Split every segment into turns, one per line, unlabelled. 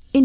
verscheen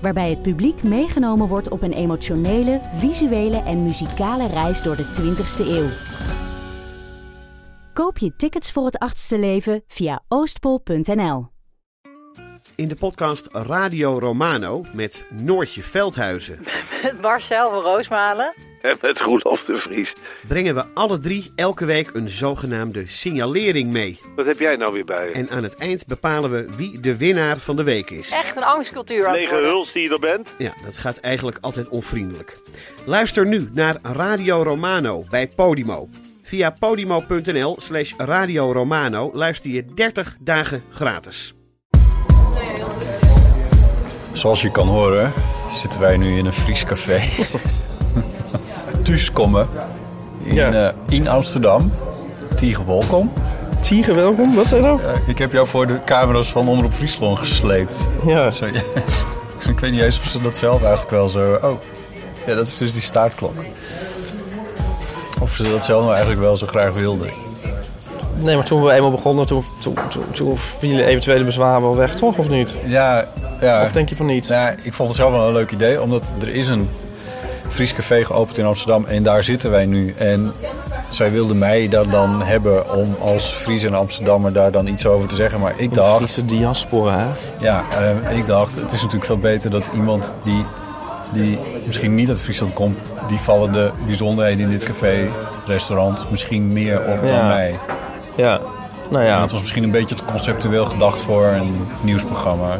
Waarbij het publiek meegenomen wordt op een emotionele, visuele en muzikale reis door de 20ste eeuw. Koop je tickets voor het achtste leven via oostpol.nl.
In de podcast Radio Romano met Noortje Veldhuizen
Met Marcel van Roosmalen.
En met Roelof de Vries.
brengen we alle drie elke week een zogenaamde signalering mee.
Wat heb jij nou weer bij je?
En aan het eind bepalen we wie de winnaar van de week is.
Echt een angstcultuur. aan het
Lege
worden.
huls die je er bent.
Ja, dat gaat eigenlijk altijd onvriendelijk. Luister nu naar Radio Romano bij Podimo. Via podimo.nl slash Radio Romano luister je 30 dagen gratis.
Zoals je kan horen zitten wij nu in een Fries café. Thuiskommen in,
Ja.
eh, in Amsterdam. Tiege welkom.
Tiege, welkom. Wat zei dat?
Eh, ik heb jou voor de camera's van Omroep Friesland gesleept.
Ja.
Zojuist. ik weet niet eens of ze dat zelf eigenlijk wel zo... Oh, ja, dat is dus die staartklok. Of ze dat zelf nou eigenlijk wel zo graag wilden.
Nee, maar toen we eenmaal begonnen, toen, toen, toen, toen vielen eventuele bezwaren wel weg, toch? Of niet? Eh,
Ja, ja.
Of denk je van niet?
Nou, ik vond het zelf wel een leuk idee, omdat er is een Fries café geopend in Amsterdam en daar zitten wij nu. En zij wilde mij daar dan hebben om als Fries en Amsterdammer daar dan iets over te zeggen. Maar ik
De
dacht,
Friese diaspora, hè?
ja, eh, ik dacht, het is natuurlijk veel beter dat iemand die, die misschien niet uit Friesland komt, die vallen de bijzonderheden in dit café, restaurant, misschien meer op dan
Ja.
mij.
Ja. Nou
En
ja,
dat was misschien een beetje te conceptueel gedacht voor een nieuwsprogramma.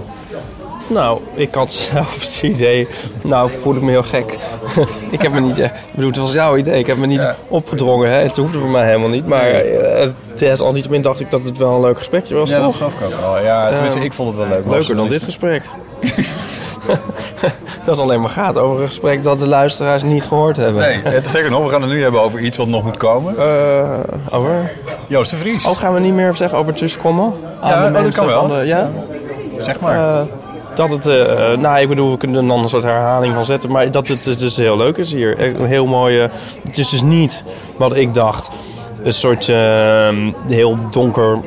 nou, ik had zelf het idee. Nou, voel ik me heel gek. ik heb me niet echt. Ik bedoel, het was jouw idee. Ik heb me niet
Ja.
opgedrongen, hè? Het hoefde voor mij helemaal niet. Maar eh, desalniettemin dacht ik dat het wel een leuk gesprekje was,
Ja, dat
toch?
gaf ik ook wel. Ja, tenminste, ik vond het wel leuk.
Leuker dan dit gesprek. dat alleen maar gaat over een gesprek dat de luisteraars niet gehoord hebben.
Nee, eh, zeker nog. We gaan het nu hebben over iets wat nog moet komen.
Eh, over?
Joost de Vries.
Oh, gaan we niet meer zeggen over tussenkommen? Aan
oh, dat
mensen
kan wel.
van de- ja?
zeg maar.
Eh, dat het, eh, eh, nou ik bedoel, we kunnen er dan een soort herhaling van zetten. Maar dat het dus- dus heel leuk is hier. Echt Een heel mooie, het is dus niet wat ik dacht. Een soort eh, heel donker,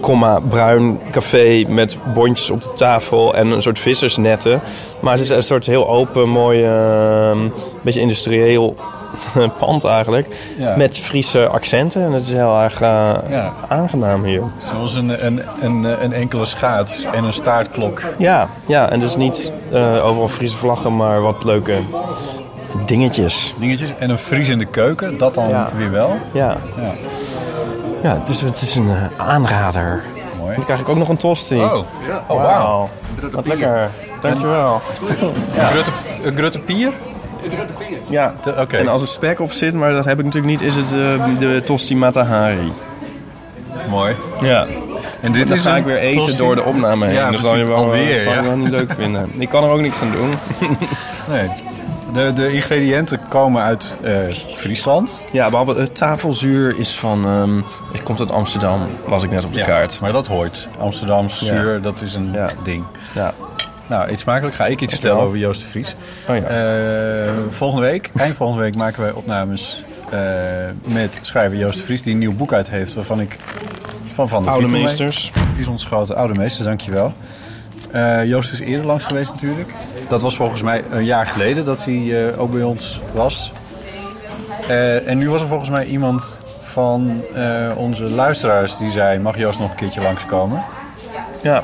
comma, bruin café met bondjes op de tafel en een soort vissersnetten. Maar het is een soort heel open, mooi, eh, beetje industrieel pand eigenlijk.
Ja.
Met Friese accenten. En het is heel erg eh,
Ja.
aangenaam hier.
Zoals een, een, een, eh, een enkele schaats en een staartklok.
Ja, ja, en dus niet eh, overal Friese vlaggen, maar wat leuke dingetjes.
Dingetjes. En een Fries in de keuken. Dat dan
Ja.
weer wel.
Ja.
Ja.
ja. dus het is een eh, aanrader. En
Mooi.
dan krijg ik ook nog een tosti.
Oh, oh wauw.
Wat lekker. Dankjewel.
Een Grutte, een grutte pier?
Ja.
Te- Oké.
En als er spek op zit, maar dat heb ik natuurlijk niet, is het eh, de tosti matahari.
Mooi.
Ja.
En dit
Dan
is
ga
een
ik weer eten
tosti-
door de opname heen.
Ja,
dat zal je wel, eh,
precies. Alweer,
zal je
ja.
wel niet leuk vinden. Ik kan er ook niks aan doen.
Nee. De, de ingrediënten komen uit eh, Friesland.
Ja, behalve het tafelzuur is van... ehm, het komt uit Amsterdam, was ik net op de kaart.
Maar dat hoort. Amsterdam zuur, dat is een
Ja.
ding.
Ja.
Nou, iets smakelijk ga ik iets vertellen
wel.
over Joost de Vries.
Oh ja.
Eh, volgende week, eind volgende week, maken wij opnames eh, met schrijver Joost de Vries, die een nieuw boek uit heeft, waarvan ik van van de
Oude
titel weet.
meesters.
Die is ontschoten. Oude meesters, dankjewel. Eh Joost is eerder langs geweest natuurlijk. Dat was volgens mij een jaar geleden dat hij eh, ook bij ons was. Eh, en nu was er volgens mij iemand van eh, onze luisteraars die zei, mag Joost nog een keertje langskomen?
Ja,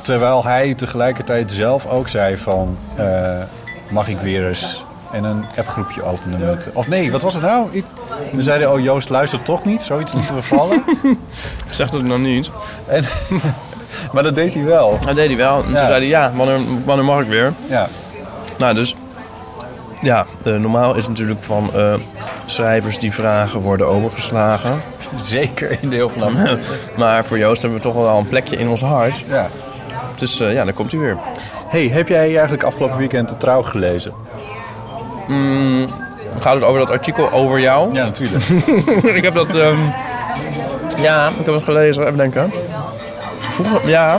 Terwijl hij tegelijkertijd zelf ook zei van... eh, mag ik weer eens en een appgroepje openen met... Of nee, wat was het nou? Ik, we zeiden, oh Joost luistert toch niet. Zoiets lieten we vallen.
zeg dat nog niet.
en, maar dat deed hij wel.
Dat deed hij wel. En toen
Ja.
zei hij, ja, wanneer, wanneer mag ik weer?
Ja,
Nou, dus... Ja, eh, normaal is het natuurlijk van eh, schrijvers die vragen worden overgeslagen.
zeker in de heel van Amsterdam.
Maar voor Joost hebben we toch wel een plekje in ons hart.
Ja.
Dus eh, ja, daar komt hij weer.
hey, heb jij eigenlijk afgelopen weekend de trouw gelezen?
mm, gaat het over dat artikel over jou?
Ja, natuurlijk.
ik heb dat. ehm, ja, ik heb het gelezen. Even denken. Vroeger, ja.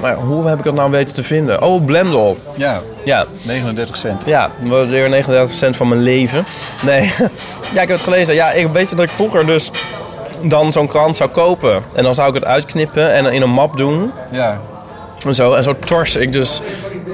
Maar hoe heb ik dat nou weten te vinden? Oh, Blendel.
ja,
Ja,
39 cent.
ja, weer 39 cent van mijn leven. Nee, ja, ik heb het gelezen. Ja, ik weet je dat ik vroeger dus dan zo'n krant zou kopen. En dan zou ik het uitknippen en in een map doen.
Ja,
En zo, en zo tors ik dus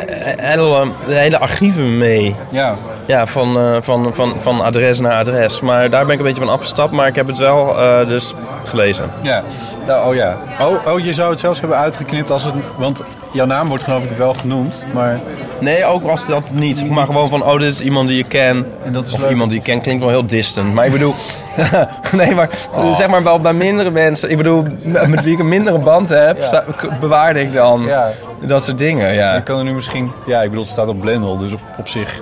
eh, hele, hele archieven mee.
ja.
Ja, van, eh, van, van, van adres naar adres. Maar daar ben ik een beetje van afgestapt. Maar ik heb het wel eh, dus gelezen.
Ja, nou, oh ja. Oh, oh, je zou het zelfs hebben uitgeknipt als het... Want jouw naam wordt geloof ik wel genoemd, maar...
Nee, ook als dat niet. Maar gewoon van, oh, dit is iemand die je ken.
En dat is
of
leuk.
iemand die je ken klinkt wel heel distant. Maar ik bedoel, nee, maar
Oh.
zeg maar wel bij mindere mensen. Ik bedoel, met wie ik een mindere band heb, sta- k- bewaarde ik dan
Ja.
dat soort dingen. Ja.
Ik kan er nu misschien... Ja, ik bedoel, het staat op Blendel, dus op, op zich...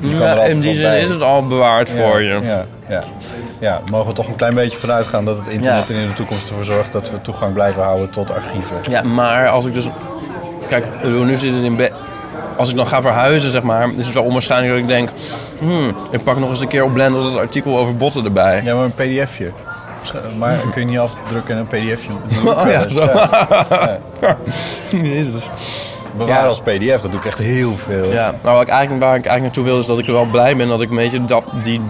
Je kan er
Ja,
altijd
in die
wat
zin
bij.
is het al bewaard
Ja,
voor je.
Ja, ja, ja, mogen we toch een klein beetje vanuit gaan dat het internet
Ja.
er in de toekomst ervoor zorgt dat we toegang blijven houden tot archieven.
Ja, maar als ik dus... Kijk, ik bedoel, nu zit het in bed. Als ik dan ga verhuizen, zeg maar, is het wel onwaarschijnlijk dat ik denk... Hmm, ik pak nog eens een keer op Blender dat artikel over botten erbij.
Ja, maar een pdfje. Scha- Maar kun je niet afdrukken en een pdfje...
Oh ja, zo.
Ja,
Jezus.
bewaren als pdf, dat doe ik echt heel veel.
Ja, nou, wat ik eigenlijk, waar ik eigenlijk naartoe wil is dat ik wel blij ben dat ik een beetje dat, die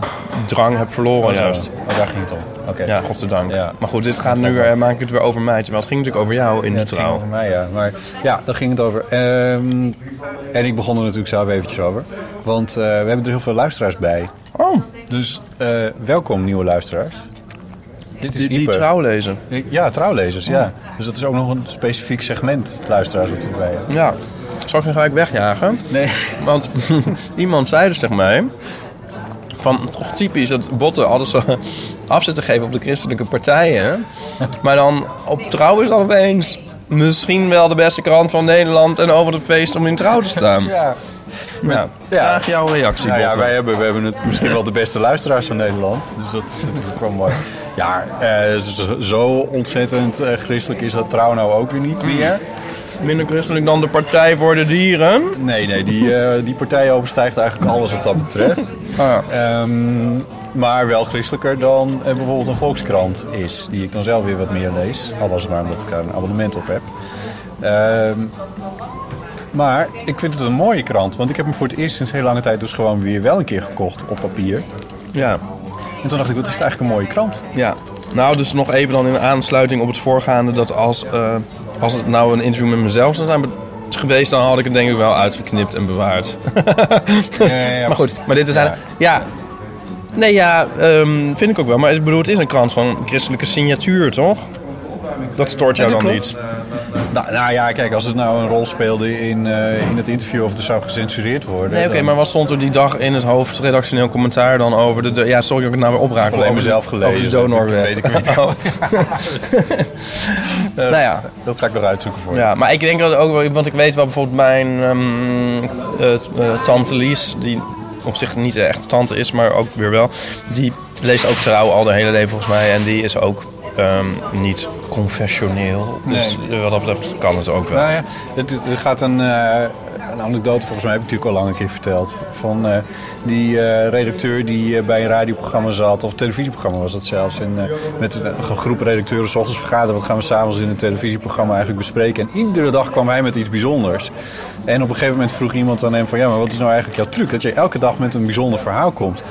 drang heb verloren.
Oh,
juist.
oh, daar ging het om. Oké.
Ja, godzijdank.
Ja.
Maar goed, dit gaat nu weer, maak ik het weer over mij. Terwijl het ging natuurlijk over jou in
Ja,
de
het ging
trouw.
over mij, ja. Maar ja, daar ging het over. Ehm, en ik begon er natuurlijk zelf eventjes over. Want eh, we hebben er heel veel luisteraars bij.
Oh,
Dus eh, welkom, nieuwe luisteraars. Dit is
die, die
Ieper.
trouw lezen.
Ik- Ja, trouwlezers, ja. Dus dat is ook nog een specifiek segment luisteraars op de bij.
Ja. Zal ik nu gelijk wegjagen?
Nee.
Want iemand zei dus tegen mij... Van, toch typisch dat botten altijd zo af zitten geven op de christelijke partijen. Maar dan op trouw is dan opeens misschien wel de beste krant van Nederland... en over het feest om in trouw te staan.
Ja.
Ja.
Ja.
Graag jouw reactie,
Nou ja,
Botte.
wij hebben, we hebben het misschien wel de beste luisteraars van Nederland. Dus dat is natuurlijk wel mooi. Ja, eh, zo- zo ontzettend eh, christelijk is dat trouw nou ook weer niet meer.
Minder christelijk dan de Partij voor de Dieren.
Nee, nee, die, eh, die partij overstijgt eigenlijk alles wat dat betreft.
ja.
Ehm, maar wel christelijker dan eh, bijvoorbeeld een Volkskrant is. Die ik dan zelf weer wat meer lees. Al was het maar omdat ik daar een abonnement op heb. Ehm, maar ik vind het een mooie krant. Want ik heb hem voor het eerst sinds heel lange tijd dus gewoon weer wel een keer gekocht op papier.
Ja,
En toen dacht ik, wat is het eigenlijk een mooie krant?
ja. Nou, dus nog even dan in aansluiting op het voorgaande... dat als, eh, als het nou een interview met mezelf zou zijn be- geweest... dan had ik het denk ik wel uitgeknipt en bewaard. maar goed, maar dit is eigenlijk... Ja, nee, ja, ehm, vind ik ook wel. Maar ik bedoel, het is een krant van christelijke signatuur, toch? Dat stoort jou
Ja, dat
dan
klopt.
niet.
Nou, nou ja, kijk, als het nou een rol speelde in, eh, in het interview of er zou gecensureerd worden.
Nee, oké,
dan-
maar wat stond er die dag in het hoofd redactioneel commentaar dan over de... de- ja, sorry dat ik het nou weer opraak. maar
Alleen
over de-
mezelf gelezen,
Over de
dat
donorwet.
weet ik niet.
Oh. nou ja.
Dat ga ik nog uitzoeken voor je.
ja, maar ik denk dat ook wel... Want ik weet wel bijvoorbeeld mijn ehm, eh, eh, tante Lies, die op zich niet echt tante is, maar ook weer wel. Die leest ook trouw al de hele leven volgens mij. En die is ook ehm, niet confessioneel. Dus
Nee.
wat dat betreft kan het ook wel.
Nou ja, het, het- er gaat een, eh, een anekdote, volgens mij heb ik natuurlijk al lang een keer verteld. Van eh, die eh, redacteur die eh, bij een radioprogramma zat, of televisieprogramma was dat zelfs. En eh, met een, een groep redacteuren s ochtends vergaderen. Wat gaan we s'avonds in een televisieprogramma eigenlijk bespreken? En iedere dag kwam hij met iets bijzonders. En op een gegeven moment vroeg iemand aan hem van... ja, maar wat is nou eigenlijk jouw truc? Dat je elke dag met een bijzonder verhaal komt.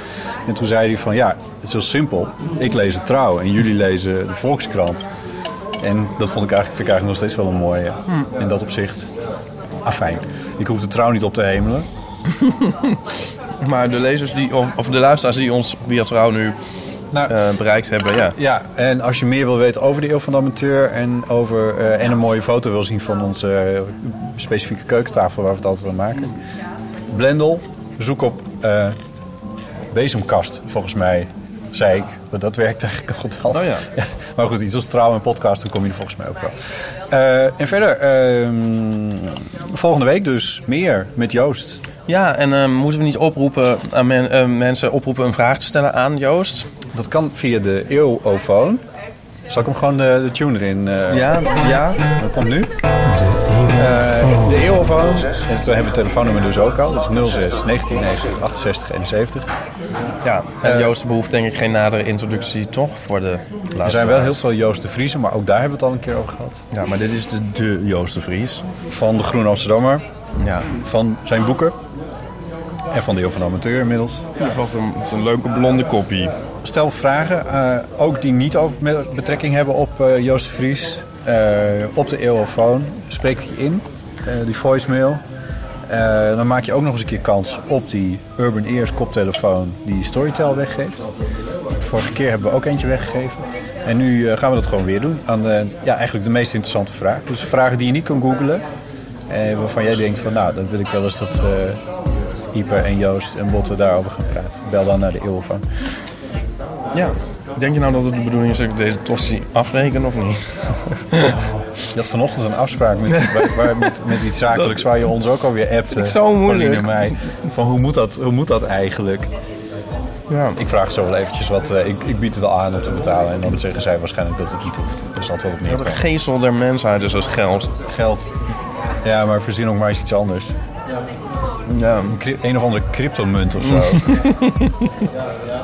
En toen zei hij van, ja, het is heel simpel. Ik lees het trouw en jullie lezen de Volkskrant. En dat vond ik eigenlijk, vind ik eigenlijk nog steeds wel een mooie. In dat opzicht. Afijn. Ik hoef de trouw niet op te hemelen.
Maar de lezers die, of, of de luisteraars die ons via trouw nu
Nou,
eh, bereikt hebben, ja.
ja, en als je meer wil weten over de Eeuw van de Amateur... en, over, eh, en een mooie foto wil zien van onze eh, specifieke keukentafel... waar we het altijd aan maken. Blendel, zoek op eh, bezemkast, volgens mij, zei ik. Want dat werkt eigenlijk goed al.
Oh ja.
Maar goed, iets als trouw en podcast, dan kom je er volgens mij ook wel. Eh, en verder, ehm, volgende week dus meer met Joost.
Ja, en ehm, moeten we niet oproepen aan men- eh, mensen oproepen een vraag te stellen aan Joost?
Dat kan via de eeuwofoon. Zal ik hem gewoon de, de tune erin? eh,
Ja, ja.
Dat komt nu.
De eeuw
Eh, de eeuwofoon. En toen hebben we het telefoonnummer dus ook al. Dus 06 1990 68 71.
Ja, en
Eh,
Joost behoeft denk ik geen nadere introductie toch voor de
Er
luisteraars.
zijn wel heel veel Joost de Vriezen, maar ook daar hebben we het al een keer over gehad.
Ja, maar dit is de, de Joost de Vries.
Van de Groene Amsterdammer,
Ja,
van zijn boeken en van de Eeuw van de Amateur inmiddels.
wat een, wat een leuke blonde koppie.
Stel vragen, eh, ook die niet over, met betrekking hebben op eh, Joost de Vries, eh, op de eeuwofoon. Spreek die in, eh, die voicemail. Eh, dan maak je ook nog eens een keer kans op die Urban Ears koptelefoon die Storytel weggeeft. Vorige keer hebben we ook eentje weggegeven. En nu eh, gaan we dat gewoon weer doen aan de, ja, eigenlijk de meest interessante vraag. Dus vragen die je niet kan googlen. Eh, waarvan jij denkt van nou, dat wil ik wel eens dat eh Ieper en Joost en Botte daarover gaan praten. Bel dan naar de eeuwofoon.
Ja. Denk je nou dat het de bedoeling is dat ik deze tossie afreken of niet?
Je had vanochtend een afspraak met, waar- waar- met, met iets zakelijks waar je ons ook alweer appt. eh,
zo moeilijk.
Pauline en mij. Van hoe moet, dat, hoe moet dat eigenlijk?
Ja.
Ik vraag zo wel eventjes wat. eh, ik, ik bied het wel aan om te betalen. En dan zeggen zij waarschijnlijk dat het niet hoeft. Dus dat wel op
Dat een
neerkomt.
geestel der mensheid dus is als geld.
Geld. Ja, maar verzin ook maar eens iets anders.
Ja.
Een, cryp- een of andere cryptomunt of zo.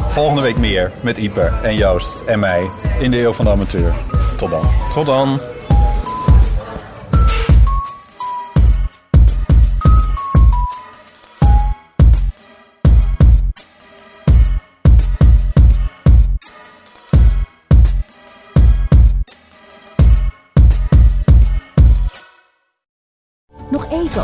Volgende week meer met Ieper en Joost en mij in de Eeuw van de Amateur. Tot dan.
Tot dan.
Nog even